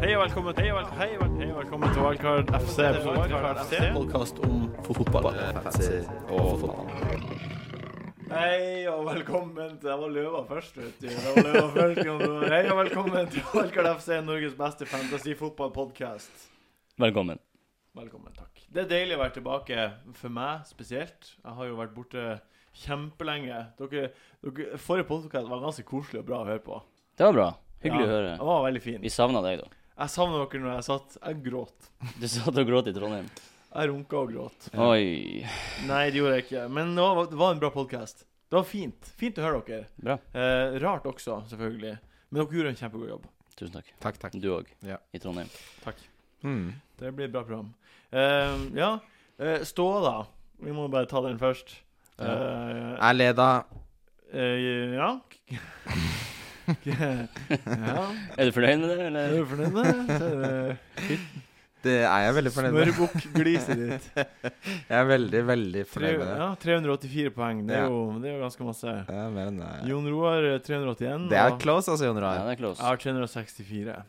Hei og velkommen til Hei og vel- hei og velkommen til Wildcard FC. Wildcard FC. podkast om fotball. Og fotball. Hei og velkommen til Det var løva først, vet du. Det var løva først, Jon Roar. Hei og velkommen til Wildcard FC, Norges beste fantasy-fotballpodkast. Velkommen. Velkommen, takk. Det er deilig å være tilbake, for meg spesielt. Jeg har jo vært borte kjempelenge. Dere, dere, forrige podkast var ganske koselig og bra å høre på. Det var bra. Hyggelig å Ja, høre. Den var veldig fin. Vi savna deg, da. Jeg savner dere når jeg satt Jeg gråt. Du satt og gråt i Trondheim. Jeg runka og gråt. Oi. Nei, det gjorde jeg ikke. Men det var, det var en bra podkast. Det var fint. Fint å høre dere. Bra. Eh, rart også, selvfølgelig. Men dere gjorde en kjempegod jobb. Tusen takk. Takk, takk. Du òg. Ja. I Trondheim. Takk. Mm. Det blir et bra program. Eh, ja, eh, Ståla. Vi må bare ta den først. Eh, Jeg leda eh, ja. ja. Eh, Er du fornøyd med det, Er eller? du fornøyd med det? Så er Det er jeg veldig det? fornøyd med. Smørbukkgliset ditt. Jeg er veldig, Tre, veldig fornøyd med det. ja, 384 poeng. Det Ja. er jo, det er jo ganske masse. Det er mer enn det. Jon Roar eh, 381. Det er og close, altså, Jon Ja, Roar. det er jeg close. har 364.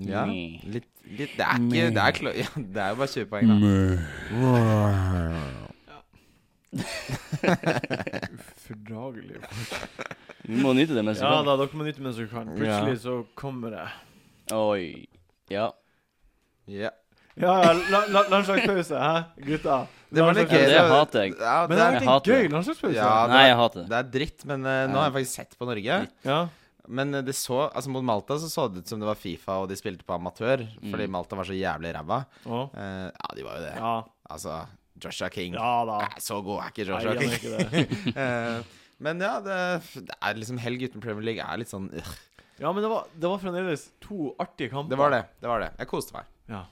Ja. Meh. Litt, litt Det er ikke Det er, clo- ja, det er jo bare 20 poeng, da. Meh. Ufordragelig. Vi må nyte det mens vi Ja kan. da, dere må nyte mens dere kan. Plutselig så kommer det. Oi. Ja. Ja. Ja, ja, la- la- landslagspause, hæ, gutta? Det var litt Ja, gøy. det hater jeg. Men det Ja, det er, har Jeg vært hater en gøy det. landslagspause. Ja. det Nei, er- jeg hater det. det er dritt, men eh, nå har jeg faktisk sett på Norge. Ja. Men eh, det så Altså, mot Malta så så det ut som det var Fifa, og de spilte på amatør, fordi Malta var så jævlig ræva. Å. Eh, ja, de var jo det. ja. Altså, Joshua King Ja da. Nei, så god er ikke Nei, Joshua han er King. ikke det. Eh, Men ja, det, det er liksom helg uten Premier League er litt sånn øh. Ja, men det var, det var fremdeles to artige kamper. Det var det. det var det Jeg koste meg. Ja.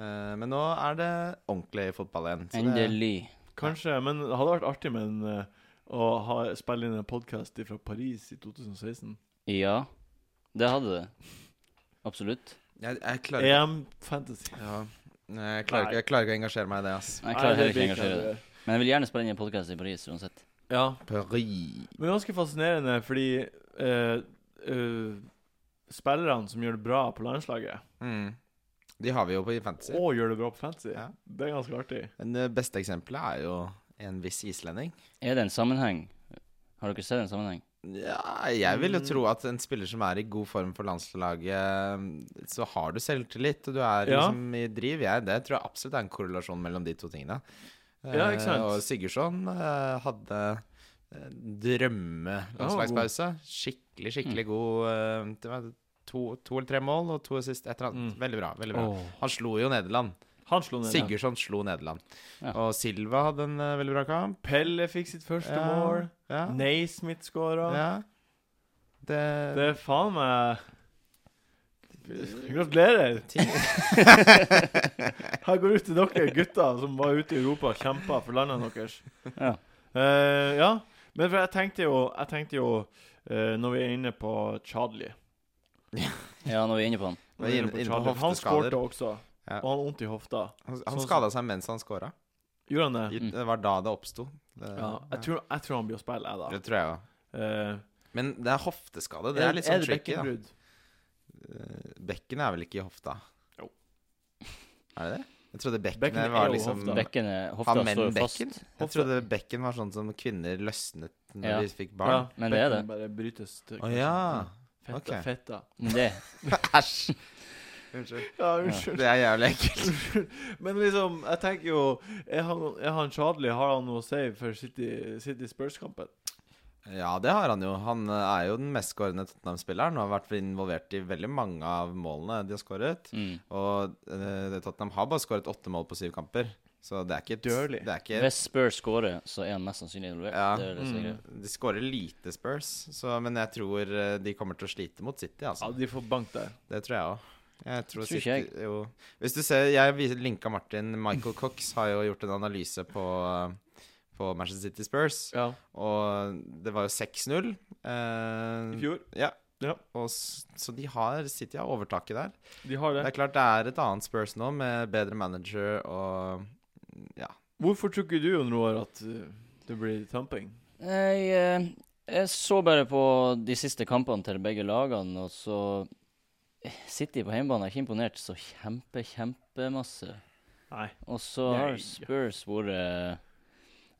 Eh, Men nå er det ordentlig fotball igjen. Så det, Endelig. Kanskje, men det hadde vært artig med en eh, å ha, spille inn en podkast fra Paris i 2016. Ja. Det hadde det. Absolutt. jeg, jeg klarer ikke EM Fantasy. ja, jeg klarer, ikke- jeg klarer ikke å engasjere meg i det, ass. Nei, Jeg klarer heller ikke å blir engasjere det. jeg. Men jeg vil gjerne spille inn en podkast i Paris uansett. Ja. Paris Men ganske fascinerende fordi eh, eh, spillerne som gjør det bra på landslaget, mm. De har vi jo på i fantasy. og gjør det bra på fantasy, Ja. det er ganske artig. Men det beste eksempelet er jo en viss islending. Er det en sammenheng? Har dere sett en sammenheng? Ja, jeg vil jo Mm. tro at en spiller som er i god form for landslaget, så har du selvtillit, og du er Ja. liksom i driv. Jeg, det tror jeg absolutt er en korrelasjon mellom de to tingene. Ja, ikke sant? Eh, Og Sigurdsson eh, hadde eh, drømmelandslagspause. Skikkelig, Mm. skikkelig god eh, Det var to, to eller tre mål og to sist. Et eller annet. Mm. Veldig bra. veldig bra Han slo jo Nederland. Han slo ned. den. Sigurdsson slo Nederland. Ja. Og Silva hadde en eh, veldig bra kamp. Pelle fikk sitt første Ja, mål. Ja. Naismith skåra. ja. Det, Det er faen meg Gratulerer! Her går ut til dere gutter som var ute i Europa og kjempa for landene deres. Ja. Eh, ja. Men for jeg tenkte jo, jeg tenkte jo eh, når vi er inne på Chadli Ja, nå er vi inne på han. Når vi er Inne- inne på Chadli, Han hofteskader. skårte også, Ja. og han har vondt i hofta. Han, Sånn han som- skada seg mens han scora. Gjorde han det? Mm. Det var da det oppsto. Det, Ja. Jeg tror, jeg tror han blir å spille, jeg, da. det tror jeg òg. Eh, Men det er hofteskade. Det er litt sånn tricky, da. bekkenbrudd? Eh, Bekken er vel ikke i hofta? Jo. Er det det? Jeg trodde Bekken er bekkenet var jo liksom hofta. Jeg Bekkene, hofta men står jo bekken? fast. Hofta. trodde bekken var sånn som kvinner løsnet når Ja. de fikk barn. Men det er bekken det. Bare brytes til Å ja. Fetta, ok. fetta. Men Mm, det Æsj. Unnskyld. Ja, unnskyld. Det er jævlig ekkelt. Men liksom, jeg tenker jo Er han, er han Chadli, har han noe å si for City, City Spurs-kampen? Ja, det har han jo. Han eh, er jo den mest skårende Tottenham-spilleren og har vært involvert i veldig mange av målene de har skåret. mm. Og eh, Tottenham har bare skåret åtte mål på syv kamper, så det er ikke et Dølig. Det er ikke Hvis Spurs scorer, så er han mest sannsynlig involvert. Ja. Mm. Det er det sikre. De skårer lite Spurs, så, men jeg tror eh, de kommer til å slite mot City, Ja, altså. de får bank der. Det tror jeg òg. Jeg tror, Tror ikke City Jo. Hvis du ser, jeg vis- linka Martin. Michael Cox har jo gjort en analyse på, eh, på Manchester City Spurs, Ja. og det var jo 6-0. I Eh, fjor. ja. Ja. Og, s- så de har City har overtaket der. De har Det det. er klart det er et annet Spurs nå, med bedre manager og ja. Hvorfor tror ikke du, Jon Roar, at uh, det blir tamping? Jeg, eh, jeg så bare på de siste kampene til begge lagene, og så City på hjemmebane er ikke imponert så kjempe, kjempemasse. Nei. Og så har Nei. Spurs vært eh,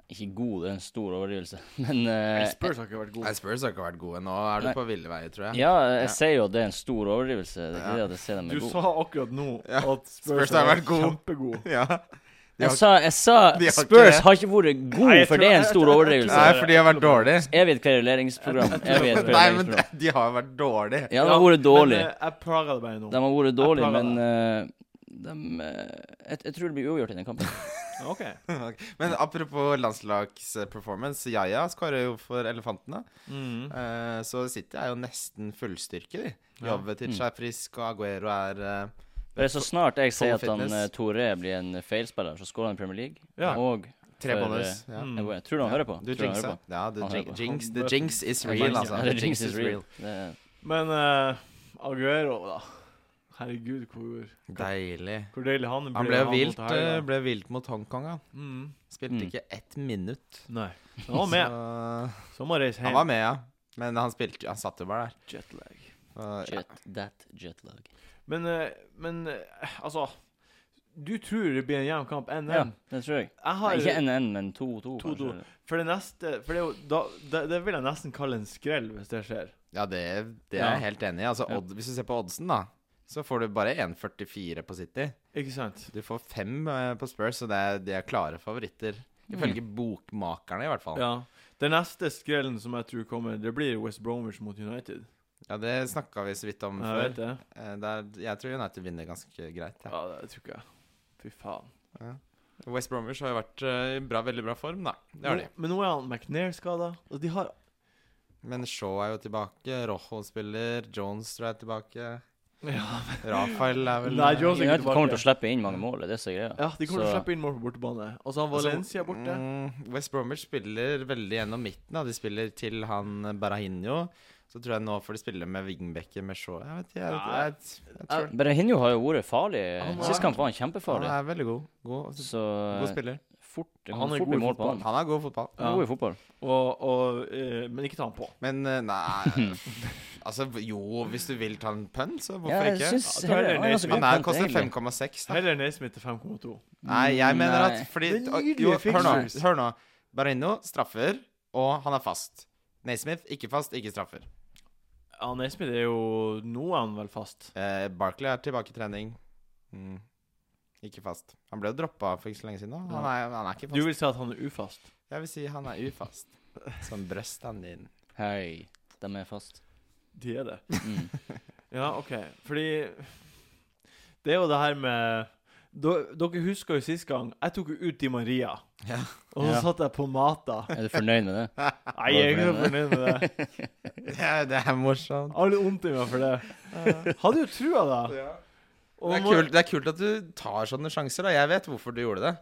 Ikke god, det er en stor overdrivelse, men eh, Spurs har ikke vært Nei, gode. Spurs har ikke vært gode. Nå er du Nei. på ville veier, tror jeg. Ja, jeg sier jo at det er en stor overdrivelse. Det er ikke Ja. det at jeg sier dem Du er gode. sa akkurat nå Ja. at Spurs, Spurs har vært gode. gode. kjempegode. Ja. de har- Jeg sa, jeg sa de har ikke Spurs det. har ikke vært Nei, god, jeg for tror- det er jeg en stor tror- overdrivelse. Nei, for de har vært dårlige. Er vi et kveruleringsprogram? Er vi et Nei, men kveruleringsprogram? de har vært dårlige. Ja, de har vært dårlig. Men, eh, jeg plaga det bare nå. De har vært dårlig, plager men eh, de, eh, jeg, jeg tror det blir uavgjort i den kampen. Ok. Men apropos landslagsperformance. Yaya skårer jo for Elefantene. Mm. Eh, Så City er jo nesten fullstyrke, de. Ja. Jovetic er frisk, og Aguero er eh, Bare så snart jeg sier at han fitness. eh, Toré blir en feilspiller, så skårer han i Premier League. Ja. Og tre for, bonus. eh, Ja. Mm. jeg bare- tror du han hører på? Du Tror han hører jinxa. på. Ja, du Han hører jin- på. jinx, Han the bør- jinx is Ja, real, jinx, altså. ja, The jinx is real. Det- Men eh, Aguero, da. Herregud, hvor, Deilig. hvor deilig han Han ble mot vilt, helga. eh, ble vilt mot Hongkong, ja. Mm. Spilte Mm. ikke ett minutt. Nei. Men Han var med. Så- Så må reise Han hjem. var med, ja. Men han spilte Han satt jo bare der. Jetlag. Og- Jet, that jetlag. Men, eh, men eh, altså Du tror det blir en jevn kamp, 1-1. Ja, det tror jeg. Jeg Nei, har ikke 1-1, men 2-2. 2-2. kanskje. For det neste For det, er jo, da, det, det vil jeg nesten kalle en skrell, hvis det skjer. Ja, det, det er jeg helt enig i. Altså, Ja. odd, hvis du ser på oddsen, da, så får du bare 1,44 på City. Ikke sant? Du får fem eh, på Spurs, så det er, de er klare favoritter. Ifølge bokmakerne, i hvert fall. Mm. Ja. Ja. Den neste skrellen som jeg tror kommer, det blir West Bromwich mot United. det snakka vi så vidt om Jeg vet før. det. Eh, det er- jeg tror United vinner ganske greit. Ja. Ja, det tror ikke jeg. Fy faen. West Bromwich har jo vært eh, i bra, veldig bra form, da. Det har de. Nå- Men nå er han McNair skada, og de har Men Shaw er jo tilbake. Rojo spiller. Jones tror jeg er tilbake. Ja, Rafael Mm. er vel Nei, Jones er ikke United kommer til å tilbake. slippe inn mange mål, det er det som er greia. Ja, De kommer til å Så- slippe inn mål på bortebane. Altså, Og så har Valencia borte. Mm, West Bromwich spiller veldig gjennom midten. Da. De spiller til han Barahinho. Så tror jeg nå får de spille med wingbacker med Shaw. Jeg vet ikke, jeg, jeg, jeg, jeg tror Berehinho har jo vært farlig. Han var- Sist kamp var han Han kjempefarlig. er veldig god. God, altså, Så eh, god spiller. fort, det Han kommer er fort god i bli mål på fotball. han. Han er god i fotball. Ja. God i fotball. mm, Og, og, eh, men ikke ta han på. Men eh, nei Altså, jo, hvis du vil ta en pønn, så Ja, hvorfor jeg ikke? syns Ja, da er det heller- han er ganske Naismith. Han god er, kant, koster egentlig. 5,6, da. Heller Naismith til 5,2. Nei, jeg mener at Nei. fordi Det er å, nydelige jo, hør, nå, fixtures. hør nå. Barahinho straffer, og han er fast. Naismith ikke fast, ikke straffer. Ja, Naismith er jo Nå er han vel fast. Eh, Barkley er tilbake i trening. Mm. Ikke fast. Han ble jo droppa for ikke så lenge siden. da. Han er, han er ikke Du fast. vil si at han er ufast? Jeg vil si han er ufast. Som brøsten din. Hei, de er fast. De er det. Mm. Ja, OK. Fordi Det er jo det her med Do- Dere husker jo sist gang jeg tok jo ut Di Maria. Ja. Og så Ja. satt jeg på Mata. Er du fornøyd med det? Nei, jeg er ikke så fornøyd med det. Det er, det er morsomt. Jeg har litt vondt i meg for det. Hadde jo trua, da. Og Det er, må- kult, det er kult at du tar sånne sjanser. da Jeg vet hvorfor du gjorde det.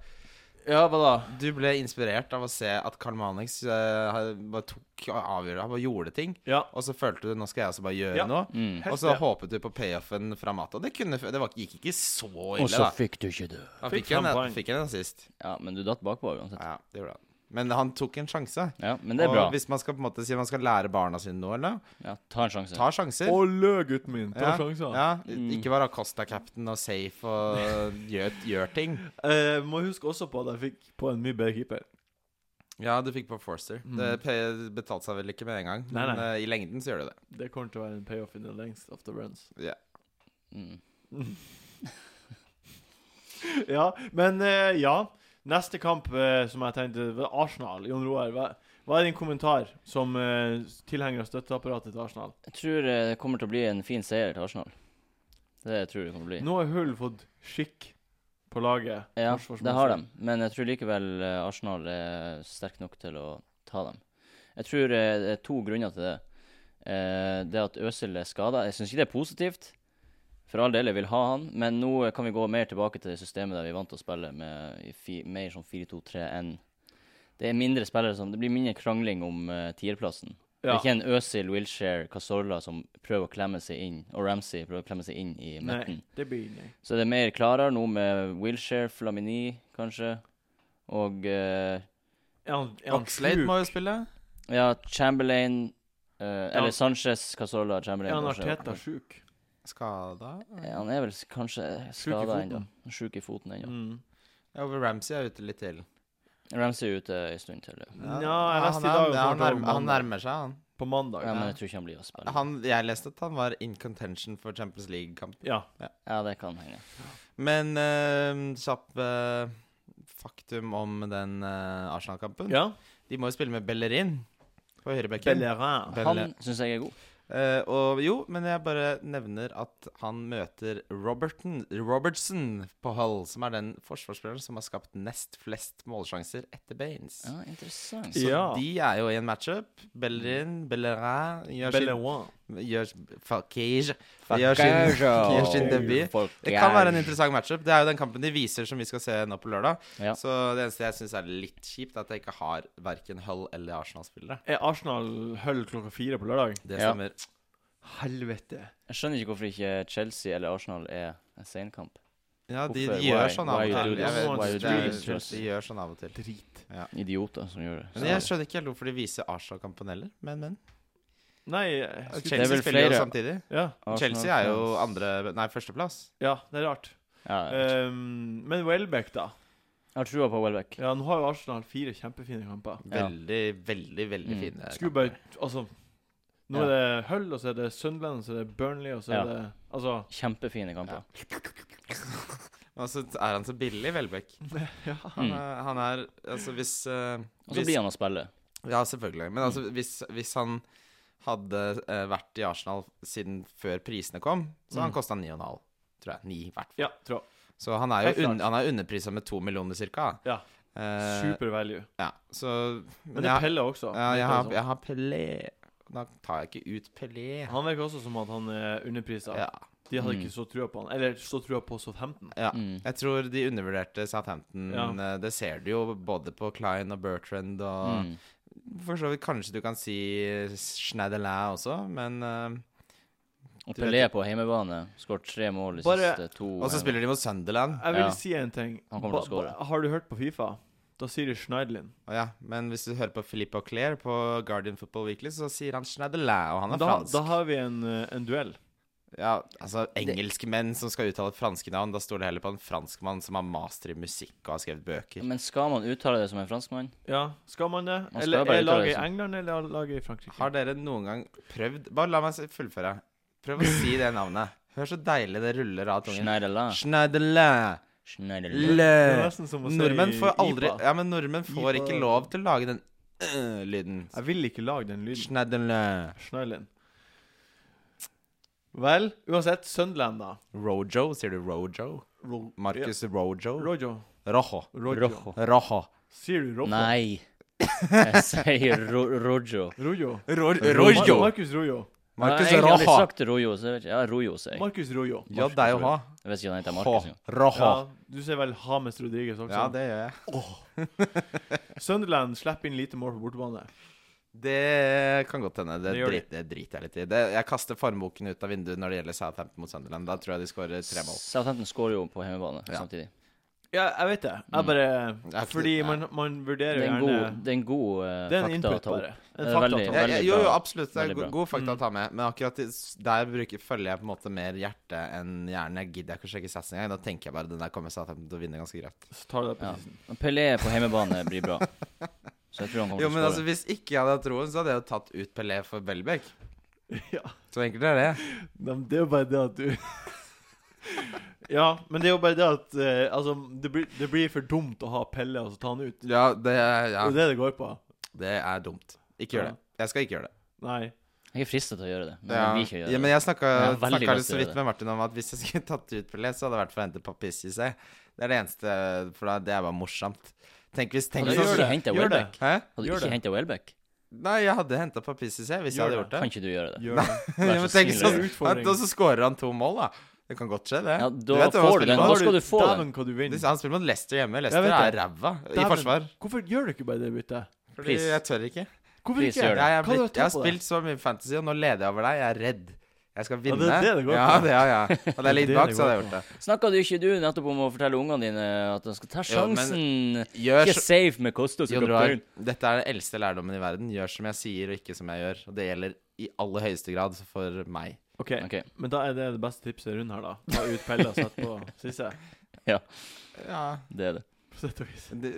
Ja, hva da? Du ble inspirert av å se at Karl Manix eh, han bare tok avgjørelser. Han bare gjorde ting. Ja. Og så følte du nå skal jeg også bare gjøre Ja. noe. Mm. Helt Og så det. håpet du på payoffen fra Mata. Det, kunne, det var, gikk ikke så Og ille, så da. fikk du ikke det. Han fikk fikk en, fem poeng. fikk en assist. Ja, men du datt bakpå uansett. Ja, det gjorde han. Men han tok en sjanse. Ja, men det er og bra. hvis man skal på en måte si man skal lære barna sine noe, eller Ja, ta en sjanse. ta sjanser. Olle, gutten min. Ta Ja, sjanser. Ja, Ikke være Acosta-captain og safe og gjør, gjør ting. Eh, må huske også på at jeg fikk på en mye bedre keeper. Ja, du fikk på Forster. Mm. Det pe- betalte seg vel ikke med en gang, Nei, men nei. eh, i lengden så gjør du det. Det kommer til å være en payoff in the length of the runs. Mm. ja, men eh, ja. Neste kamp eh, som jeg tenkte var Arsenal. Jon Roar, hva, hva er din kommentar som eh, tilhenger av støtteapparatet til Arsenal? Jeg tror eh, det kommer til å bli en fin seier til Arsenal. Det tror jeg det kommer til å bli. Nå har Hull fått skikk på laget. Ja, forsvarsmessig. det har de, men jeg tror likevel eh, Arsenal er sterk nok til å ta dem. Jeg tror eh, det er to grunner til det. Eh, Det at Øsil er skada, jeg syns ikke det er positivt. For all del, jeg vil ha han, men nå eh, kan vi gå mer tilbake til det systemet der vi er vant til å spille med i fi, mer sånn 4-2-3-1. Det er mindre spillere som Det blir mindre krangling om uh, tierplassen. Det Ja. er ikke en Øsil, Wilshere, Casorla som prøver å klemme seg inn, og Ramsey prøver å klemme seg inn i midten. Nei, det blir nei. Så det er mer klarere nå med Wilshere, Flamini, kanskje. Og eh, Er han, er han Oxlade sjuk? må jo spille. ja, Chamberlain eh, han- Eller Sanchez, Casola, Er Chamberlain. han kanskje. Arteta sjuk? Skada? Eh, Han er vel s- kanskje skada foten. ennå. Sjuk i foten ennå. Mm. Ja, over Ramsey er ute litt til. Ramsey er ute en stund til. Ja. Ja, jeg leste i han, dag er- at han, var nærmer, han mandag. nærmer seg, han. På mandag. Ja, Ja, men jeg tror ikke han blir å spille. han. Jeg leste at han var in contention for Champions League-kamp. ja. Ja, det kan henge. Men eh, kjapp eh, faktum om den eh, Arsenal-kampen. ja. De må jo spille med Bellerin på høyrebekken. Bellerin. Belle- Han syns jeg er god. Eh, og jo, men jeg bare nevner at han møter Robertson, Robertson på Hull, som er den forsvarsspilleren som har skapt nest flest målsjanser etter Baines. Ja, interessant. Så Ja. de er jo i en matchup. Bellerin, Bellerin gjør sin, Bellerin. gjør, fuck, gjør, gjør sin, gjør sin debut. Det kan være en interessant matchup. Det er jo den kampen de viser som vi skal se nå på lørdag. Ja. Så det eneste jeg syns er litt kjipt, er at jeg ikke har verken Hull eller Arsenal-spillere. Er Arsenal høll klokka fire på lørdag? Det Ja. stemmer. Helvete. Jeg skjønner ikke hvorfor ikke Chelsea eller Arsenal er en seinkamp. Ja, de Hvorfor? gjør Why- sånn why av og you til. do Jeg this? Why you vet, do det er, this to us? de gjør sånn av og til. Drit. Idioter som gjør det. Men jeg skjønner ikke helt hvorfor de viser Arsenal-kampen heller, men, men. Nei jeg skulle- Det er Chelsea vel spiller jo flere- samtidig. Ja, Arsenal Chelsea er jo fans. andre Nei, førsteplass. ja det er rart. Ja, jeg Eh, vet ikke. Ehm, men Welbeck, da. jeg har trua på Welbeck. Ja, Nå har jo Arsenal fire kjempefine kamper. Ja. Veldig, veldig, veldig Mm. fin. eh, Skulle kamp. bare Altså, nå Ja. er det Hull, og så er det Sunderland, og så er det Burnley, og så er Ja. det Altså Kjempefine kamper. Og så er han så billig, Welbeck. Han, Mm. er- han er Altså, hvis, eh, Og så hvis blir han å spille. Ja, selvfølgelig. Men Mm. altså, hvis, hvis han hadde eh, vært i Arsenal siden før prisene kom, så hadde han Mm. kosta 9,5, tror jeg. 9 i hvert fall. Ja, tror jeg. Så han er Helt jo klart. un han er underprisa med to millioner cirka. Ja. Eh, Super value. ja. Så Men det er Pelle også. Ja, jeg har, Sånn. jeg har Pelé. Da tar jeg ikke ut Pelé. Han virker også som at han er underprisa. Ja. De hadde Mm. ikke så trua på han. Eller så trua på Southampton. ja. Mm. Jeg tror de undervurderte Southampton. Ja. Eh, Det ser du jo både på Klein og Bertrand og Mm. For så vidt kanskje du kan si Schnadelin også, men eh, Og Du vet- Pelé på hjemmebane. Skåret tre mål de Bare- siste to. Og så spiller de mot Sunderland. Jeg vil Ja. si en ting. Han kommer til å Ba- ba- Har du hørt på Fifa? Da sier de Schneidlin. Å ja, men hvis du hører på Philippe Auclair på Guardian Football Weekly, så sier han Schnadelin, og han er Da, fransk. da har vi en, eh, en duell. Ja, altså engelske menn som skal uttale franske navn, da stoler jeg heller på en franskmann som har master i musikk og har skrevet bøker. Men skal man uttale det som en franskmann? Ja, skal man det? skal Eller bare er uttale laget det i som- England, eller er laget i Frankrike? Har dere noen gang prøvd Bare la meg se- fullføre. Prøv å si det navnet. Hør så deilig det ruller av tungen. Schneidela. Schnadelin. Schneidela. Det er Le. nesten som å si eh, Nordmenn får aldri IPA. Ja, men nordmenn får ikke lov til å lage den øh, lyden. Jeg vil ikke lage den lyden. Schnadelin. Schneidlin. Vel, uansett, Sunderland, da. Rojo, sier du Rojo? Ro- Marcus Rojo? Ja. Rojo. Rojo. Rojo. Rojo. Rojo. Sier du Rojo? Nei. Jeg sier ro Rojo. Rojo. Rojo. Markus Rojo. Marcus Jeg har egentlig aldri Rojo. sagt Rojo, så jeg vet ikke. Ja, Rojo, sier jeg. Markus Rojo. Ja, deg og ha. Jeg vet ikke om han heter Rojo. Markus. jo. Rojo. Ja, du sier vel Hames Rodriguez også? Ja, det gjør jeg. Sunderland slipper inn lite mål på bortebane. Det kan godt hende. Det, Det gjør drit, det driter jeg litt i. Det, jeg kaster formboken ut av vinduet når det gjelder Southampton mot Sunderland. Da tror jeg de skårer tre mål. Southampton skårer jo på hjemmebane Ja. samtidig. Ja, jeg vet det. Mm. Jeg bare Det er ikke- Fordi ja. man, man vurderer Det jo er en gjerne god, det er en god eh, Det er en fakta å input, ta opp. bare. En Det er fakta å ta veldig- Ja, opp. ja, Veldig jo, jo, bra. absolutt. Det er Veldig go- bra. god fakta Mm. å ta med. Men akkurat i s- der bruker, følger jeg på en måte mer hjerte enn hjerne. Gidder jeg ikke å sjekke sats engang. Da tenker jeg bare den der kommer Southampton til å vinne ganske greit. Så tar du det på Ja. tissen. Men Pelé på hjemmebane blir bra. Så jeg tror han kommer Jo, til å men skåre. altså, hvis ikke jeg hadde hatt troen, så hadde jeg jo tatt ut Pelé for Welbeck. Ja. Så enkelt er det. Nei, men det er jo bare det at du Ja, men det er jo bare det at eh, Altså, det blir, det blir for dumt å ha Pelle og så ta han ut. Ja, det, er- Det ja, er jo det det går på. det er dumt. Ikke gjør Ja. det. Jeg skal ikke gjøre det. Nei. Jeg er fristet til å gjøre det, men Ja. jeg vil ikke gjøre ja, det. men jeg snakka Jeg har veldig snakka lyst litt så til å vidt gjøre med Martin om at hvis jeg skulle tatt ut Pelé, så hadde det vært for å hente Pappis i seg. Det er det eneste For da, det er bare morsomt. Tenk hvis tenk hvis Hadde du Altså, gjør ikke det. henta Gjør det. Welbeck? Hæ? Hadde du Gjør ikke det. henta Welbeck? Nei, jeg hadde henta Pappis i seg hvis jeg Gjør hadde det. gjort det. Kan ikke du gjøre det? Gjør det. Vær Ja, men så tenk snill, sånn, det er han, utfordring. og så scorer han to mål, da. Det kan godt skje, det. Ja, Du da vet jo hva får du spillet den. var. Da skal du få den. Dæven, hva du vinner. Han spiller mot Leicester hjemme. Leicester vet er det. ræva i Dæven. forsvar. Hvorfor gjør du ikke bare det byttet? Fordi Please. jeg tør ikke. Hvorfor Please, ikke? Jeg, gjør det. jeg, er Hva er det å blitt, jeg har ta på det? spilt så mye fantasy, og nå leder jeg over deg. Jeg er redd. Jeg skal Ja, vinne. det er det det går ja, på. det, ja, ja. Hadde jeg Det er det ligget bak, det så hadde jeg går på. gjort det. Snakka du ikke du nettopp om å fortelle ungene dine at de skal ta Jo, men- sjansen? Gjør Ikke safe med Kostas Jo, og du har, kaptein. dette er den eldste lærdommen i verden. Gjør som jeg sier, og ikke som jeg gjør. Og det gjelder i aller høyeste grad for meg. OK, Ok. men da er det det beste tipset rundt her, da. Ta ut Pelle og sett på Sisse. Ja. Det er det. På sett og vis. Det,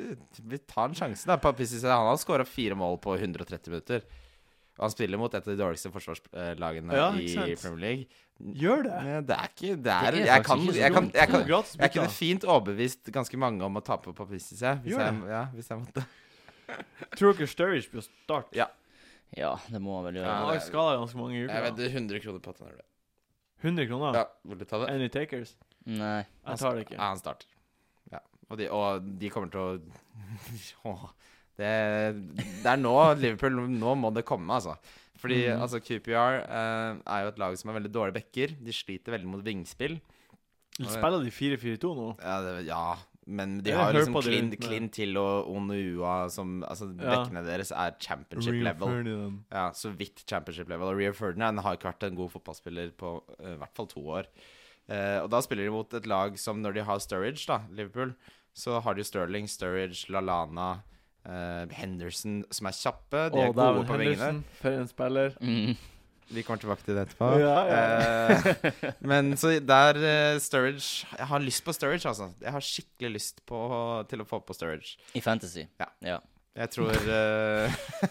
vi tar en sjanse, da. Papi Cissé, han har skåra fire mål på 130 minutter. Og han spiller mot et av de dårligste forsvarslagene Ja, i ikke sant? Premier League. Gjør det! Men Det er ikke Det er, Det er jeg, faktisk kan, ikke så jeg, kan, dumt, jeg, To kan, det. gratis jeg kunne bytter. fint overbevist ganske mange om å ta på Papi Cissé. Hvis, Gjør jeg- ja, hvis jeg måtte. Tror dere Sturridge blir å starte? Ja. Ja, det må han vel gjøre. Han Ja, har det- vært skadet ganske mange Jeg uker. da. vedder 100 kroner på at han gjør det. 100 kroner? Ja, vil du ta det? Any takers? Nei. Jeg tar det Ja, ikke. han starter. Ja. Og, de, og de kommer til å Åh. det, det er nå Liverpool Nå må det komme, altså. Fordi Mm. Mhm. altså, QPR eh, er jo et lag som har veldig dårlige backer. De sliter veldig mot vingspill. Spiller de 4-4-2 nå? Ja, det, ja. men de Jeg har hører liksom på det Clint, rundt med- Clint Hill og Onua som Altså, Ja. bekkene deres er championship Rio level. Ferdinand. Ja, så vidt championship level. Og Rio Ferdinand har ikke vært en god fotballspiller på eh, i hvert fall to år. Eh, og da spiller de mot et lag som når de har Sturridge, da, Liverpool, så har de Sterling, Sturridge, Lalana, eh, Henderson, som er kjappe. De er Å, gode dæven, på vingene. Henderson, For en spiller. Mm. Vi kommer tilbake til det etterpå. Ja, Eh, men så der eh, Sturridge Jeg har lyst på Sturridge, altså. Jeg har skikkelig lyst på, til å få på Sturridge. I Fantasy. Jeg tror eh,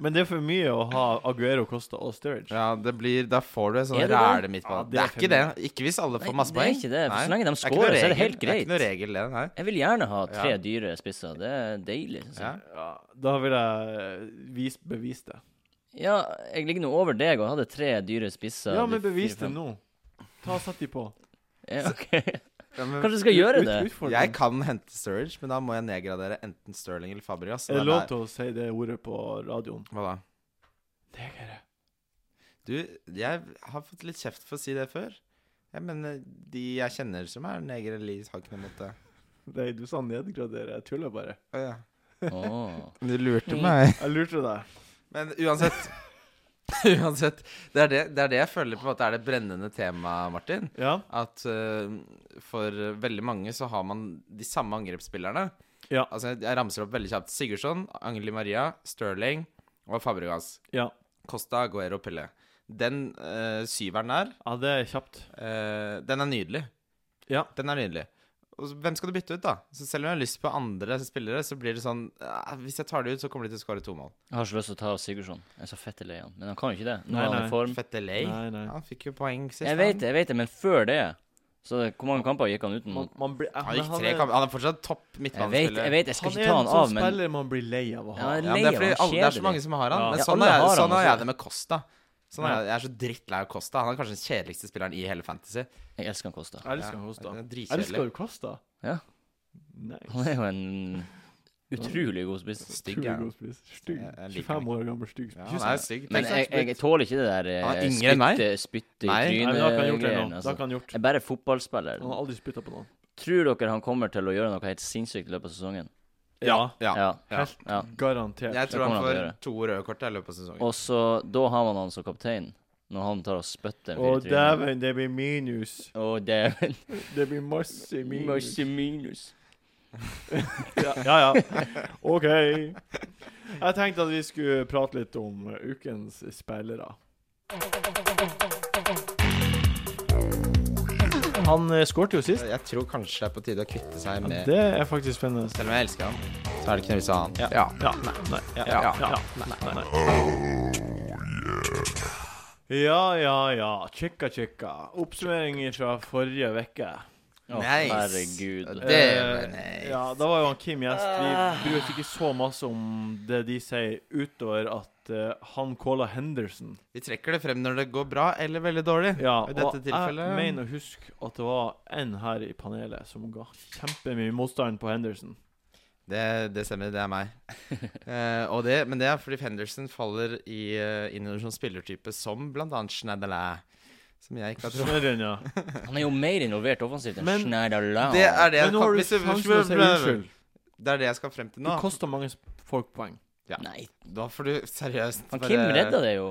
Men det er for mye å ha Aguero, Costa og Sturridge. Ja, det blir Da får du en sånn Er det det? ræle midt på. Ja, det, er ikke det. Ikke hvis alle får Nei, masse det er poeng. ikke det. For Nei. så Det lenge de ikke noe scorer, så er det regel. helt Det er ikke noe greit. regel, det. Nei. Jeg vil gjerne ha tre Ja. dyre spisser. Det er deilig. Synes jeg. Ja. Ja, da vil jeg vis, bevise det. Ja, jeg ligger nå over deg og hadde tre dyre spisser. Ja, men Du- bevis fire, det fem. nå. Ta og Sett de på. Ja, ok. Ja, men Kanskje du skal gjøre Ut- det? utfordring. jeg kan hente Sturridge, men da må jeg nedgradere enten Sterling eller Fabregas. så Er det den lov er- til å si det ordet på radioen? Hva da? Negere. Du, jeg har fått litt kjeft for å si det før. Jeg mener, de jeg kjenner som er negere, eller har ikke noe mot det. Nei, du sa nedgradere. Jeg tuller bare. Å ja. Åh. Du lurte Mm. meg. Jeg lurte deg. Men uansett Uansett. Det er det, det er det jeg føler på en måte er det brennende temaet, Martin. Ja. At eh, for veldig mange så har man de samme angrepsspillerne. Ja. Altså, jeg- jeg ramser opp veldig kjapt. Sigurdsson, Angeli Maria, Sterling og Fabregas. Ja. Costa, Guero, Pelle. Den eh, syveren der, ja, det er kjapt. eh, den er nydelig. Ja. Den er nydelig. Og så, hvem skal du bytte ut, da? Så selv om jeg har lyst på andre spillere, så blir det sånn eh, Hvis jeg tar det ut, så kommer de til å skåre to mål. Jeg har så lyst til å ta Sigurdsson. Jeg er så fett lei han. Men han kan jo ikke det. Nå Nei, er han nei. i form. Fette Lei. Nei, nei. Han fikk jo poeng sist. Jeg vet det, jeg vet det, men før det Så hvor mange kamper gikk han uten? Man, man blir, Han, han gikk tre kamper. Han er fortsatt topp Jeg vet, jeg midtbanespiller. vet, jeg skal Han ikke er en ta han sånn av, men spiller man blir lei av å ha. Ja, jeg er Ja, men det, er fordi Lei alle, av han, det er så kjedelig. mange som har han. Ja. Men Ja, sånn alle er, har han, sånn er altså. jeg det med Costa. Sånn er, jeg- jeg er så drittlei av Costa. Han er kanskje den kjedeligste spilleren i hele Fantasy. jeg elsker han Kosta. Jeg elsker Ja, han Kosta. det er Elsker Dritkjedelig. du Kosta? Ja. Han Nice. er jo en utrolig god spiss. Stygg, ja. god spiss. Stygg. Jeg- jeg liker 25 han år gammel stygg Ja, spiss. han er stygg. Men Tenk jeg, sånn, jeg tåler ikke det der Han er eh, yngre enn meg. spytte, spytte i Nei. Nei, Nei, men da kan han gjort det trynet-greiene. nå. Da Altså. kan han gjort. Jeg er bare fotballspiller. Han har aldri spytta på noen. Tror dere han kommer til å gjøre noe helt sinnssykt i løpet av sesongen? Ja. ja. Ja. Ja. Helt ja. garantert. Jeg tror kommer han han til å får gjøre. to røde kort i løpet av sesongen. Og så Da har man han som kaptein, når han tar og spytter en Å, fyr i trynet. dæven, det blir minus. Å, dæven. Det blir masse minus. Masse minus. Ja, ja. ja. OK. Jeg tenkte at vi skulle prate litt om eh, ukens spillere. Han skårte jo sist. Jeg tror kanskje det er på tide å kvitte seg med Det er faktisk spennende. Selv om jeg elsker han, så er det ikke noe vits i å ha han. Ja. Ja. Ja, nei, nei, ja, ja, Ja. ja, nei, nei, nei. Ja, ja, ja. Tjekka, tjekka. Oppsummering fra forrige uke. Å, Nice. herregud. Det var nice. Eh, ja, da var jo han Kim gjest. Vi bryr oss ikke så masse om det de sier, utover at eh, han calla Henderson. Vi trekker det frem når det går bra eller veldig dårlig. Ja, I og dette jeg tilfellet- mener å huske at det var en her i panelet som ga kjempemye motstand på Henderson. Det, det stemmer, det er meg. Eh, og det, men det er fordi Henderson faller i, eh, inn under sånn spillertype som blant annet Schneiderlin, som jeg ikke har trodd Snørren, ja. Han er jo mer involvert offensivt enn Men- Schneiderlau. Det er det jeg Men nå har du hvis du- sjansen til å si unnskyld. Det er det jeg skal frem til Du nå. kosta mange folk poeng. Nei, Da får du seriøst han Kim redda det jo.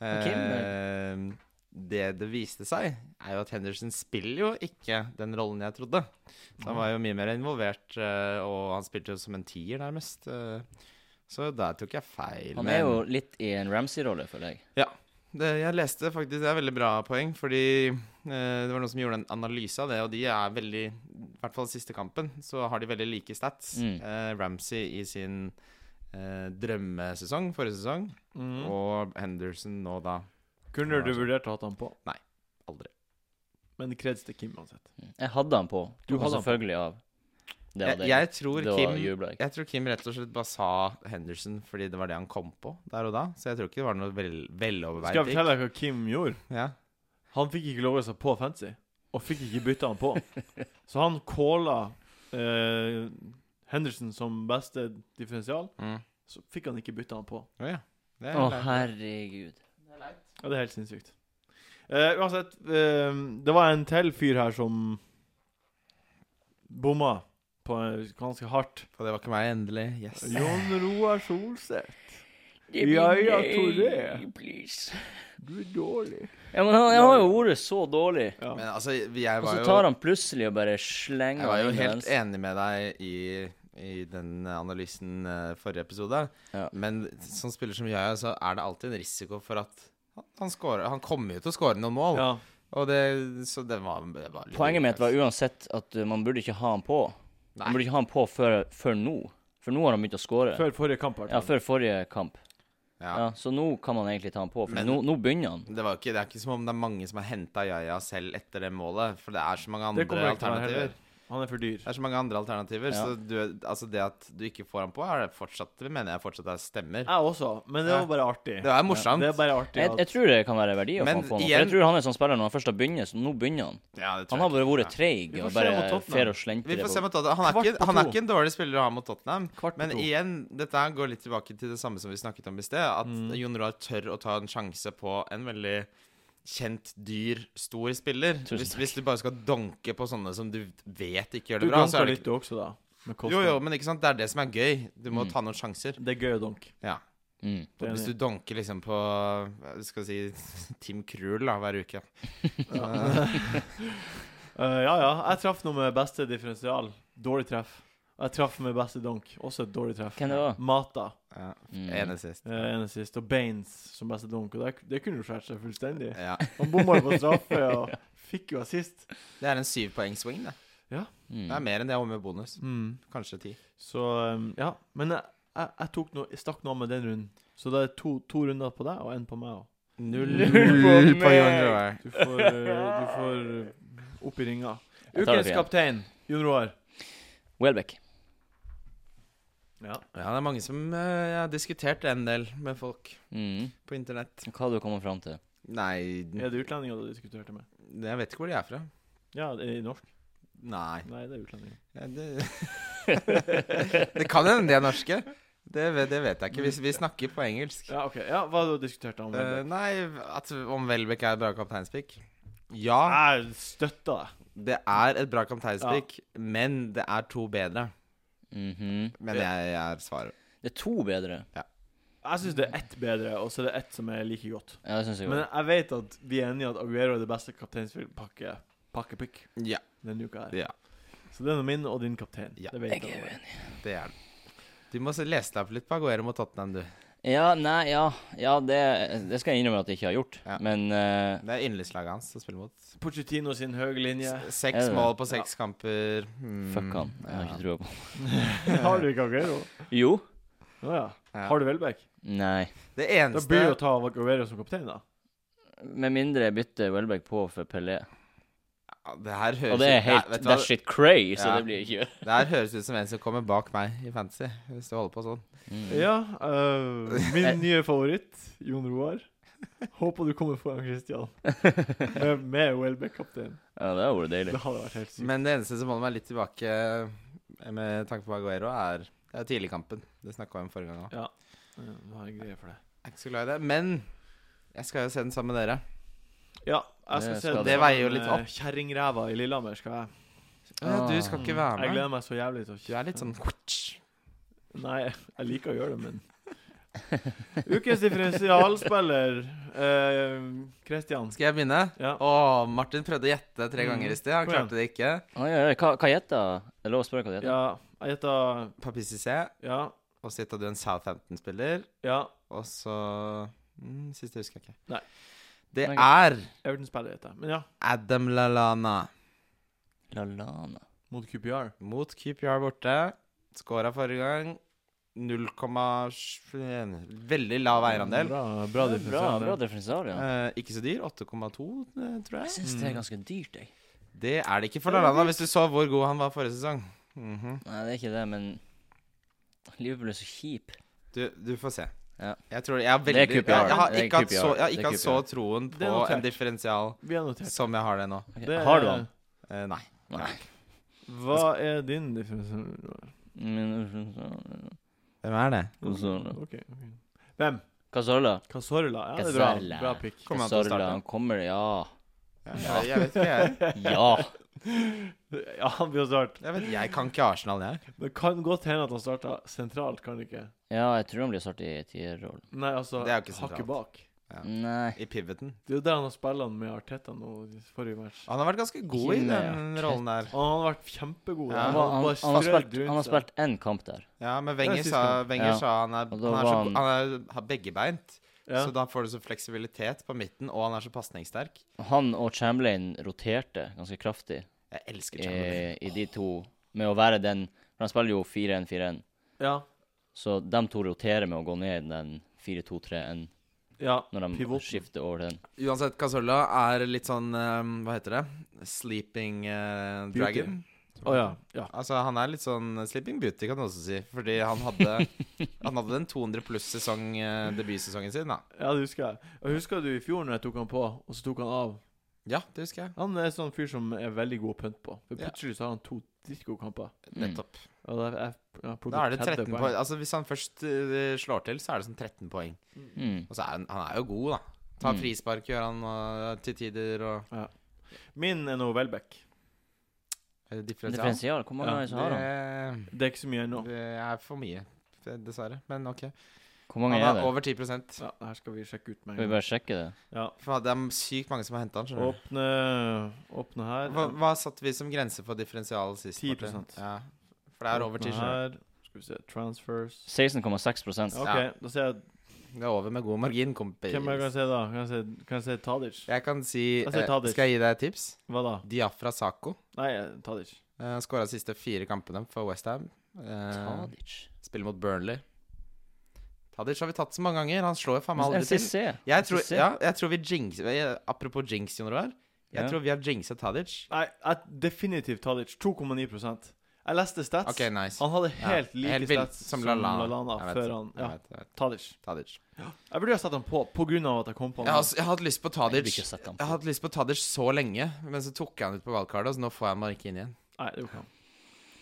han Kim, eh, Det det viste seg, er jo at Henderson spiller jo ikke den rollen jeg trodde. Så han var jo mye mer involvert, eh, og han spilte jo som en tier, nærmest. eh, Så der tok jeg feil. Han men- er jo litt i en Ramsey-rolle, føler jeg. Det, jeg leste faktisk, det er veldig bra poeng, fordi eh, det var noen som gjorde en analyse av det, og de er veldig I hvert fall siste kampen, så har de veldig like stats. Mm. Eh, Ramsey i sin eh, drømmesesong forrige sesong, Mm. og Henderson nå da Kunne du vurdert å ha han på? aldri. Men kreds til Kim uansett. Jeg hadde han på. Du hadde Tok han han på. selvfølgelig av. Det var Jeg, det. jeg, tror da Kim, jubla jeg. jeg tror Kim rett og slett bare sa Henderson fordi det var det han kom på der og da, så jeg tror ikke det var noe vel, veloverveid Skal jeg pick. fortelle deg hva Kim gjorde? Ja. Han fikk ikke lov å seg på fancy, og fikk ikke bytta han på. Så han calla eh, Henderson som beste differensial, Mm. så fikk han ikke bytta han på. Å ja. Det Å, er leit. herregud. Ja, det er helt sinnssykt. Eh, uansett, eh, det var en til fyr her som bomma på eh, ganske hardt. For det var ikke meg, endelig. Yes. Jon Roar Solseth. Ja, ja, Tore. Please. Du er dårlig. Ja, men han, han har jo vært så dårlig. Ja. Men altså, jeg Og var så jo tar han plutselig og bare slenger Jeg var jo inn helt den. enig med deg i, i den analysen eh, forrige episode. Ja. Men som spiller som jeg, så er det alltid en risiko for at han, han, scorer, han kommer jo til å skåre noen mål. Ja. Og det, så det var, det var litt Poenget mitt var uflaks. uansett at uh, man burde ikke ha han på. Nei. Man burde ikke ha han på før, før nå. For nå har han begynt å score. Før forrige kamp. hvertfall. Ja, før forrige kamp. ja. Ja. Så nå kan man egentlig ta han på, for Men- nå, nå begynner han. Det, var ikke, det er ikke som om det er mange som har henta Yaya selv etter det målet. For det er så mange Det andre kommer ikke til å være alternativer. heller. Han er for dyr. Det er så mange andre alternativer, Ja. så du, altså det at du ikke får han på, er det fortsatt, det mener jeg fortsatt er stemmer. Jeg også, men det Ja. var bare artig. Det er morsomt. Det er bare artig. Jeg, at- jeg tror det kan være verdi å få Men han på nå. For igjen- jeg tror han er sånn spiller når han først har begynt, så nå begynner han. Ja, det tror Han jeg har bare ikke. vært treig Vi får og se mot bare Tottenham. fer og slenter Vi det får se på. mot Tottenham. Han er, Kvart ikke, på han er to. ikke en dårlig spiller å ha mot Tottenham. Kvart på Men to. igjen, dette her går litt tilbake til det samme som vi snakket om i sted. At Mm. Jon Roar tør å ta en sjanse på en veldig kjent, dyr, stor spiller. Tusen Hvis, takk. hvis du bare skal donke på sånne som du vet ikke gjør Du det bra, så danka er det litt, ikke du også, da. Med Costa. Jo, jo, men ikke sant? det er det som er gøy. Du må Mm. ta noen sjanser. Det er gøy å donke. Ja. Mm. Det er Hvis du enig. donker liksom på hva Skal vi si Tim Krul da, hver uke. Eh, ja, ja. Jeg traff noe med beste differensial. Dårlig treff. Og Jeg traff med beste donk. Også et dårlig treff. Hvem det var? Mata. Ja. Mm. Ene sist. eh, ene sist. Og Baines som beste donk. Og det, det kunne jo skåret seg fullstendig. Ja. Han bomma jo på straffe og fikk jo assist. Det er en syvpoengswing, det. Det er Mm. mer enn det og med bonus. Mm. Kanskje ti. Så um, ja. Men jeg, jeg, jeg tok noe, jeg stakk noe av med den runden. Så det er to, to runder på deg og én på meg. også. Null Null på på Jon meg. Roar. Du får, eh, du får eh, opp i ringa. Jeg tar det Ukens igjen. kaptein, Jon Roar. Welbeck. Ja. Ja, det er mange som eh, Jeg har diskutert en del med folk Mm. på internett. Hva har du kommet fram til? Nei Er det utlendinger du diskuterte med? Jeg vet ikke hvor de er fra. Ja, det er norsk. Nei Nei, det er utlendinger. ja, Det, det kan hende de er norske. Det, ve- det vet jeg ikke. Vi, vi snakker på engelsk. Ja, ok. Ja, hva du diskuterte om Eh, Welbeck? nei, at, om Welbeck er et bra kapteinspick? Ja, Jeg støtter deg. det er et bra kapteinspick, men det er to bedre. Mhm. Men jeg er svaret. Det er to bedre. Jeg syns det er ett bedre, og så er det ett som er like godt. Ja, det syns jeg Men òg. jeg vet at vi er enige i at Aguero er det beste kapteinspakkepikk pakkepikk Ja, denne uka her. Ja. Så det er nå min og din kaptein. Ja. Det vet Jeg er uenig. det er det. Du må se- lese deg opp litt på Aguero mot Tottenham, du. Ja, nei, ja. ja det, det skal jeg innrømme at jeg ikke har gjort. Ja. Men eh, Det er yndlingslaget hans å spille mot. Pochettino sin høye linje. S- Er Seks det mål det? på seks kamper. Mm, fuck han. Jeg har ja. ikke trua på han. Har du ikke Aguero? Jo? Å ja. Ja. Har du Welbeck? Nei. Det Da eneste blir det å ta Aguero som kaptein, da. Med mindre jeg bytter Welbeck på for Pelé. Ja, Det her høres Og det er ut- helt Nei, vet du hva? That shit cray, så Ja. det blir ikke Det her høres ut som en som kommer bak meg i fantasy, hvis du holder på sånn. mm. Ja. øh, Jeg- min nye favoritt, Jon Roar. Håper du kommer foran Christian. Med, med Welbeck-kaptein. Ja, det hadde vært Det deilig. hadde vært helt sykt. Men det eneste som holder meg litt tilbake eh, med tanke på Aguero, er, det er tidligkampen. Det snakka vi om forrige gang òg. Ja. Du har en greie for det. Jeg er ikke så glad i det. Men jeg skal jo se den sammen med dere. Ja, jeg skal Det se eh, skal det veier jo litt opp. Kjerringræva i Lillehammer skal jeg. Ah. Ja, du skal ikke Mm, Jeg være med. gleder meg så jævlig til å Du er litt sånn Nei, jeg liker å gjøre det, men Ukens differensialspiller, Kristian. Skal jeg begynne? ja. Å, Martin prøvde å gjette tre ganger i sted. Han Kom igjen. klarte det ikke. Oi, oi, oi, hva hva gjetta Det er lov å spørre hva det heter? ja, jeg gjetter Papi Cissé. Ja, Og så gjetta du en Southampton-spiller. ja. Og så Mm, siste husker jeg ikke. Nei. Det Nei, er Everton-spiller, heter jeg. Men ja, Adam Lallana Lallana. mot QPR. mot QPR borte. Skåra forrige gang. 0,7 Veldig lav eierandel. Bra, bra Ja, bra, differensial, bra det. differensial, ja. Eh, ikke så dyr. 8,2, eh, tror Jeg jeg. syns det er ganske dyrt, jeg. Det er det ikke for Lallana, hvis du så hvor god han var forrige sesong. Mhm. Nei, det er ikke det, men Liverpool er så kjip. du, du får se. Ja. Jeg tror jeg har Det veldig er jeg, QPR. jeg har Det er ikke hatt QPR. så, jeg har Det er ikke hatt så troen Det er på notert. en differensial Vi har notert. som jeg har det nå. Ok, Det- Har du han? Eh, nei. Nei. Hva er din differensial? Men- Hvem er det? Cazorla. Ok, ok. Hvem? Cazorla. Casorla. Ja, det er bra. Cazorla. Bra pick. Kommer han til å Cazorla, starte? Han kommer, ja. Ja, jeg, jeg vet ikke, jeg. Ja. Ja, han blir å starte. Jeg, vet, jeg kan ikke Arsenal, jeg. Det kan godt hende at han starta sentralt, kan det ikke? Ja, jeg tror han blir startet i tierrollen. Nei, altså Det er jo ikke hakket sentralt. bak. Ja. Nei. I pivoten. Det er jo der han har spilt han med Arteta nå i forrige match. Han har vært ganske god i Ikke den mer. rollen der. Han har vært kjempegod. Ja, Han Han, var- var- han, bare han, har strødd spilt, rundt han har seg. spilt én kamp der. Ja, men Det Wenger er sa, siste. Wenger Ja. sa han er, Og han da er, var så, han- han er, har beggebeint, Ja. så da får du så fleksibilitet på midten, og han er så pasningssterk. Han og Chamberlain roterte ganske kraftig Jeg elsker Chamberlain. i, i de to med å være den For han spiller jo 4-1-4-1, ja. så de to roterer med å gå ned i den 4-2-3-1 ja. når de Pivoten. skifter over til den. Uansett, Casolla er litt sånn eh, Hva heter det? Sleeping eh, Beauty. dragon. Å ja. ja. Altså, han er litt sånn sleeping beauty, kan du også si. Fordi han hadde Han hadde den 200 pluss-sesong, eh, debutsesongen sin, da. Ja, det husker jeg. Og Husker du i fjor når jeg tok han på, og så tok han av? Ja, det husker jeg. Han er en sånn fyr som er veldig god å pynte på. For Ja. Plutselig så har han to dritgode kamper. Mm. Nettopp. Og da, jeg, jeg har plukket Da er det 13 30 poeng. Altså, hvis han først eh, slår til, så er det sånn 13 poeng. Mm. Og så er han, han er jo god, da. Tar Mm. frispark, gjør han eh, til tider, og Min er nå Welbeck. Er det eh, differensial? Differensial. Hvor mange Ja, ja, har han? Det, Det er ikke så mye Mm. ennå. det er for mye, dessverre. Men OK. Hvor mange Han er er det? over 10 For Ja, det her skal vi sjekke ut med Skal en vi gang. bare sjekke det? Ja. Det er sykt mange som har henta han, skjønner du. Åpne, åpne her. Hva, hva satte vi som grense for differensial sist? 10%. Marte? Ja. For det er over Åpne 10 skjønner du. her. Skal vi se Transfers. 16,6 Ja, ja. OK, Ja. da ser jeg Det er over med god margin, kompis. Hvem jeg kan se da? Kan jeg se, kan jeg se Tadic? Jeg kan si Jeg sier eh, Tadic. Skal jeg gi deg et tips? Hva da? Diafra Sako. Nei, eh, Tadic. Uh, Skåra de siste fire kampene for Westham. Eh, Uh, Tadic. spiller mot Burnley. Tadic har vi tatt så mange ganger. Han slår jo faen meg aldri til. NCC. Jeg tror, NCC. ja, jeg tror vi jinx, jeg- Apropos jinx, Jon Roar. Jeg Ja. tror vi har jinxa Tadic. Nei, jeg, definitivt Tadic. 2,9 Jeg leste stats. OK, nice. Han hadde Ja, helt like helt vilt, stats som som Lallana. Lalana, Jeg vet, før han Jeg Ja, vet, jeg vet. Tadic. Tadic. Jeg burde jo ha satt han på på grunn av at jeg kom på Jeg han. har, jeg har hatt lyst på Jeg Tadic vil ikke Jeg sette han på. har hatt lyst på Tadic så lenge, men så tok jeg han ut på valgkartet, så nå får jeg han bare ikke inn igjen. Nei, det gjorde ikke han.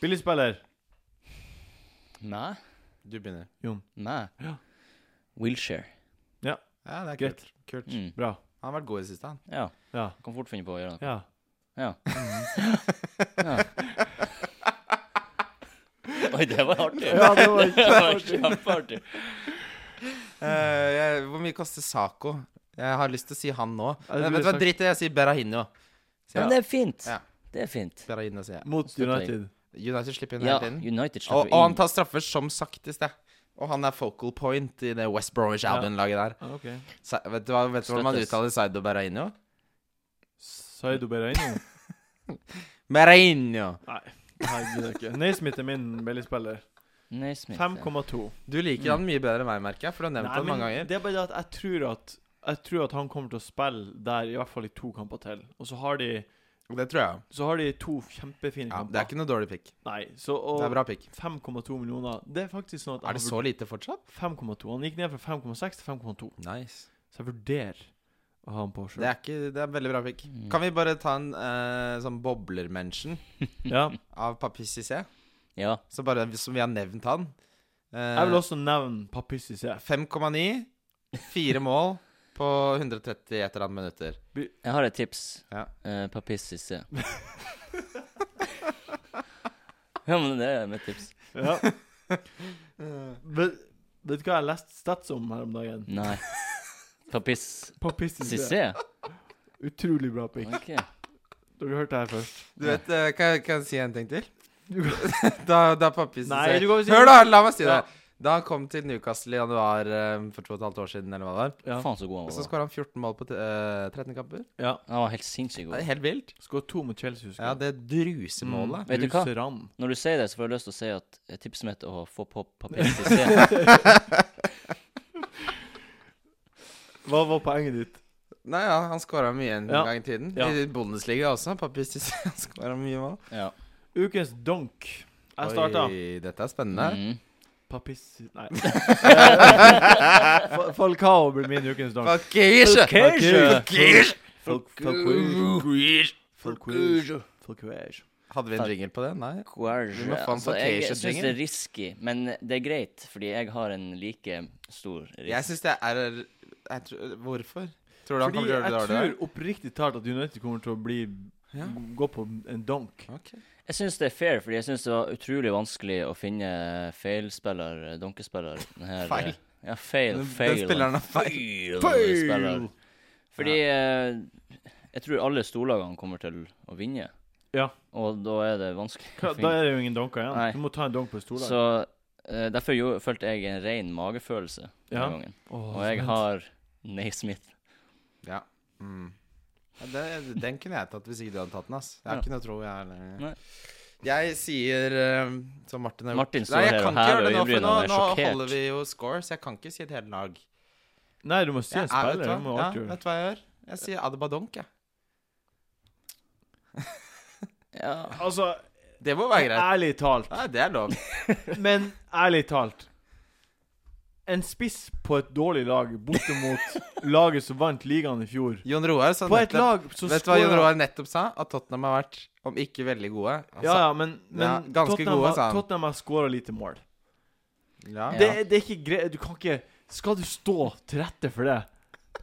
Billigspiller. Nei. Du begynner. Nei. Ja. Wilshere. Ja, det er Greit. kult. kult. Mm. Bra. Han har vært god i det siste, han. Ja. Ja. Kan fort finne på å gjøre noe. Ja. Oi, det var artig. Ja, det var Det var kjempeartig. Eh, jeg, hvor mye koster Saco? Jeg har lyst til å si han nå. Ja, det blir Men vet du hva, sagt. drit i det. Jeg sier Berahino. Ja, men det er fint. Ja. Det er fint. Berahino, sier jeg. Mot Slutt United. United slipper inn Ja, hele tiden. United Og, slipper og han inn. tar straffer som saktest, det. Og han er focal point i det West Bromwich Ja. Albion-laget der. Ah, OK. Sa- vet du hva vet du hvordan man Støttes. uttaler Saido Berahino? Saido Bereino? Berahino! Nei. Nei, det er ikke. Naismith er min billigspiller. Nei, Smith. 5,2. Du liker han mye bedre enn meg, merker jeg, for du har nevnt Nei, han mange men ganger. Det er bare det at jeg tror at Jeg tror at han kommer til å spille der i hvert fall i to kamper til. Og så har de Det tror jeg. Så har de to kjempefine Ja, kamper. det er ikke noe dårlig pick. Nei, så og Det er bra pick. 5,2 millioner Det er faktisk sånn at Er det jeg så lite fortsatt? har vurd- 5,2 Han gikk ned fra 5,6 til 5,2. Nice. Så jeg vurderer å ha han på Det sjøl. er, ikke, det er veldig bra pick. Mm. Kan vi bare ta en eh, sånn bobler-mention Ja. av Papis Cissé? Ja. Så bare som vi har nevnt han. Eh, Jeg vil også nevne Papissi C. 5,9. Fire mål på 130 et eller annet minutter. Jeg har et tips. Ja. Eh, Papis Sisse. ja, men det er mitt tips. Ja. Vet, vet du hva jeg leste stats om her om dagen? Nei. Papis Papissi C. Sisse? Utrolig bra pick. Ok. Dere hørte det her først. Du vet, eh, kan, jeg- kan jeg si en ting til? da, da pappi Nei, sier du kan jo si- Hør, da! La meg si det. Da han kom til Newcastle i januar eh, for to og et halvt år siden, eller hva det var, Ja. Faen så god han og så var. da. skåra han 14 mål på t- eh, 13 kamper. Ja. Han var helt Det er sinnssykt god. helt vilt. Skåret to mot Chelsea, husker Ja, det drusemålet. Mm. Vet du hva? Ruseran. Når du sier det, så får jeg lyst til å si at eh, tipset mitt er å få på papir til scenen. Hva var poenget ditt? Nei, ja, han skåra mye en Ja. gang i tiden. Ja. I Bundesliga også. Papi Cissé skåra mye mål. Ja. Ukens donk. Jeg starta. Oi, dette er spennende. Mm. Papis... Nei. Fa- Falcao blir min ukens donk. Fakir! Fakir! Fal- Falcao. Falcao. Falcao. Hadde vi en jingle på det? Nei. Courage. Vi må faen Altså, få jeg Keisha jeg syns Dinger. det er risky, men det er greit, fordi jeg har en like stor Jeg risk. syns det er jeg tror, Hvorfor? Tror du Fordi han kommer til å gjøre jeg det dårlig? tror oppriktig talt at United kommer til å bli Ja. Gå på en donk. Ok. Jeg syns det er fair, fordi jeg syns det var utrolig vanskelig å finne feilspiller, eh, donkespiller. den her, eh, Feil. Ja, feil. Den, den Feil. spilleren er feil. feil. Fail! spiller. Fordi eh, jeg tror alle storlagene kommer til å vinne. Ja. Og da er det vanskelig Hva- å Da finne. er det jo ingen donker igjen. Nei. Du må ta en donk på et storlag. Så eh, derfor jo, følte jeg en ren magefølelse denne Ja. gangen. Åh, Og jeg vent. har Naismith. Ja. Mm. ja det, den kunne jeg tatt hvis ikke du hadde tatt den. ass Jeg har Ja. ikke noe tro, jeg heller. Nei. Jeg sier eh, som Martin har gjort Martin står Nei, jeg her kan og ikke hever gjøre det nå, for øyebrynene nå, og er nå sjokkert. holder vi jo score, så jeg kan ikke si et helt lag. Nei, du må si en Jeg, er- vet, spiller. du Du må hva? Ja, alltid gjøre det. vet du hva jeg gjør? Jeg sier Adebadonk, jeg. Ja. Altså, Det må være greit. ærlig talt Nei, det er lov. Men ærlig talt En spiss på et dårlig lag borte mot laget som vant ligaen i fjor Jon Roar sa På et nettopp lag som Sånn, Vet du hva Jon scorer- Roar nettopp sa? At Tottenham har vært, om ikke veldig gode Han Ja, sa- ja, men, men Ja, ganske Tottenham, gode, har- sa han. Tottenham har skåra lite mål. ja. Det, er- det er ikke greit Du kan ikke Skal du stå til rette for det?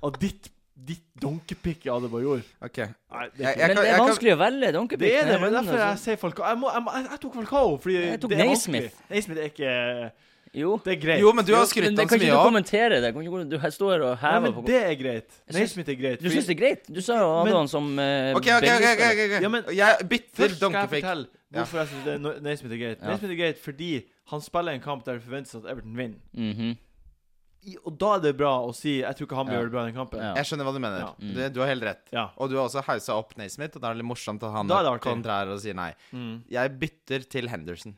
Av ditt Ditt donkepikk av det bare gjorde? Ok. Nei, det er Jeg- ikke jeg kan- Men det jeg er kan- vanskelig å velge donkepikk. det er det, denne men runden, derfor jeg altså. sier Falcao. Jeg, må, jeg, må, jeg, jeg tok Falcao fordi Jeg tok det er Naismith. vanskelig. Naismith er ikke Jo. Det er greit. Jo, men du har Men skrytt han det så kan ikke mye du av. kommentere det. Kan ikke Du du står her og Nei, hever men på det er greit. Jeg syns- Naismith er greit. Du syns det er greit? Du sa jo Men- Adrian som eh, Ok, ok, ok, ok, Burnley-spiller. ok. Ja, men- Jeg bytter Først skal jeg donkefake. fortelle hvorfor jeg syns det er no- Naismith er greit. Ja. Naismith er greit fordi han spiller en kamp der det forventes at Everton vinner. Mhm. I, og da er det bra å si 'jeg tror ikke han blir Ja. gjøre det bra i den kampen'. Ja. Ja. Jeg skjønner hva du mener. Ja. Mm. Du, du har helt rett. Og du har også hausa opp Naismith, og da er det litt morsomt at han Da er det artig. kontrær og sier nei. Mm. Jeg bytter til Henderson.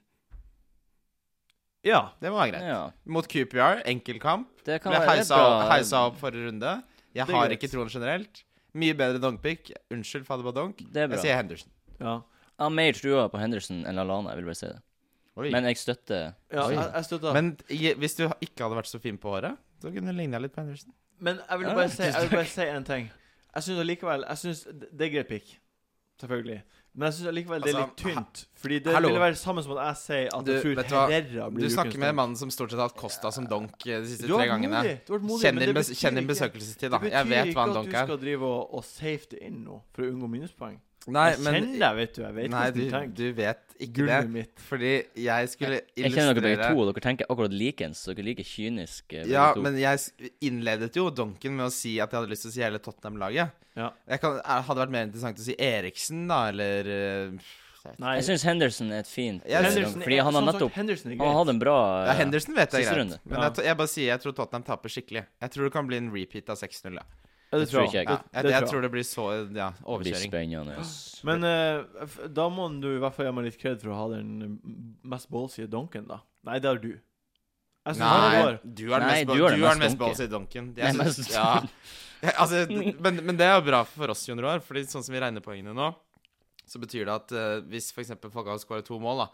ja. Det må være greit. Ja. Mot QPR, enkel kamp. Det kan Ble være heisa, bra. heisa opp forrige runde. Jeg Det er har greit. ikke troen generelt. Mye bedre donkpick. Unnskyld, fader badonk. Det er Jeg bra. sier Henderson. ja. Jeg har mer trua på Henderson enn Lallana, jeg vil bare si det. Oi. Men jeg støtter ja Oi. jeg, jeg støtter. Men, Men i- hvis du ikke hadde vært så fin på håret, så kunne du ligna litt på Henderson. jeg vil Ja, bare si Jeg vil tusen bare si en ting. Jeg syns allikevel jeg synes Det det er greit pick, selvfølgelig. Men jeg syns allikevel det er litt Altså, tynt. Fordi det hallo. ville være samme som at jeg sier at Du, jeg vet du tror hva? Herrera Du blir snakker ukens med dommer. mannen som stort sett har hatt Costa som donk eh, de siste Du har tre vært gangene. modig. Du har vært modig, Kjenn men din, det bes- betyr kjenn din ikke- besøkelsestid, da. Det Jeg betyr vet ikke hva at en du donk er. skal drive og, og safe det inn nå for å unngå minuspoeng. Nei, jeg kjenner deg, vet du. Jeg vet Nei, hvordan du, du tenker. du vet ikke det. Gullet mitt. Fordi jeg skulle Jeg kjenner dere begge illustrere to, og dere tenker akkurat likens. Dere er like kyniske. begge Ja, to. men jeg s- innledet jo donken med å si at jeg hadde lyst til å si hele Tottenham-laget. Ja. Jeg kan- er- hadde vært mer interessant å si Eriksen, da, eller eh, Nei, Jeg syns Henderson er et fint Jeg eh, synes- Henderson, Fordi han har sånn sagt, nettopp Henderson er Han har greit. hatt en bra eh, ja, Henderson vet jeg siste greit. runde. Men Ja. jeg, t- jeg bare sier jeg tror Tottenham taper skikkelig. Jeg tror det kan bli en repeat av 6-0. Ja. Ja, det det tror tror ikke jeg. jeg. Ja, det jeg, jeg tror tror det blir så ja, eh, blir overkjøring. spennende. Men eh, f- da må du i hvert fall gi meg litt kred for å ha den eh, mest ballsige donken, da. Nei, det har du. Jeg synes han er Nei, rår. du er den Nei, mest, du er den du er den mest mest ballsy donken. Jeg Jeg er synes, mest- ja. Ja, altså, d- men, men det er jo bra for oss, Jon Roar. Fordi sånn som vi regner poengene nå, så betyr det at eh, hvis f.eks. Falcao skårer to mål, da,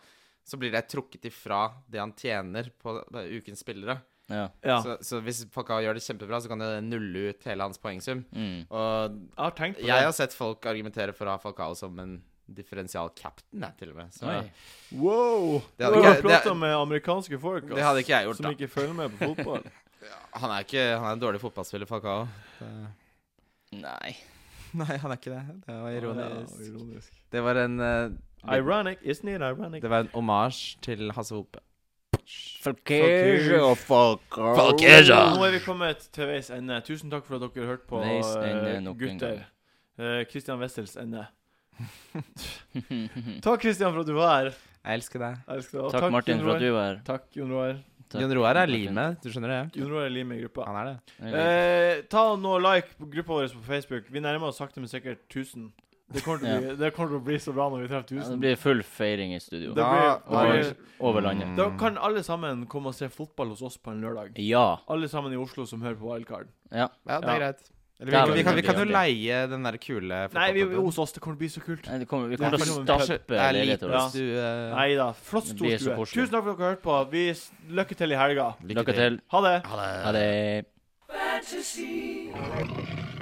så blir det trukket ifra det han tjener på eh, ukens spillere. Ja. Ja. Så, så hvis Falcao gjør det kjempebra, så kan det nulle ut hele hans poengsum. Mm. Og Jeg har tenkt på jeg har det. sett folk argumentere for å ha Falcao som en differensial captain, jeg, til og med. Så Oi. Wow! Det hadde du ikke- har det- prata med amerikanske folk ass, det hadde ikke jeg gjort, som da. ikke følger med på fotball. Han er ikke Han er en dårlig fotballspiller, Falcao. Nei. Nei, han er ikke det. Det var Ja, ironisk. Det var en eh, Ironic, isn't it ironic? Det var en omasj til Hasse Hope. Falkirja og Falkar. Nå er vi kommet til veis ende. Tusen takk for at dere hørte på, Veis ende eh, nok en gutter. gang. Kristian Wessels ende. takk, Kristian, for at du var her. Jeg elsker deg. Jeg elsker deg. Og Takk, Martin, Jon for Roar. at du var her. Takk, Jon Roar. Mbappé. Jon Roar er limet, du skjønner det? Jon Roar er lim i gruppa. Han er det. Eh, ta nå like på gruppa vår på Facebook. Vi nærmer oss sakte, men sikkert 1000. Det kommer til å bli, det kommer til å bli så bra når vi treffer Ja, 1000. det blir full feiring i studio. Da Ja, blir- da blir- Over landet. Mm. Da kan alle sammen komme og se fotball hos oss på en lørdag. Ja. Alle sammen i Oslo som hører på Wildcard. ja. Ja, det Ja. er greit. Eller, vi, Der kan, var vi, kan, vi det kan jo veldig leie den der kule Nei, vi, fotballkampen. hos oss. Det kommer til å bli så kult. Nei, det kommer, vi kommer Det er til å kanskje- Det stappe er leiligheter liten våre. Ja. stue. Nei da. Flott Det stor blir så stue. koselig. Tusen takk for at dere har hørt på. Vi s- Lykke til i helga. Lykke til. Ha det. Ha det. Ha det.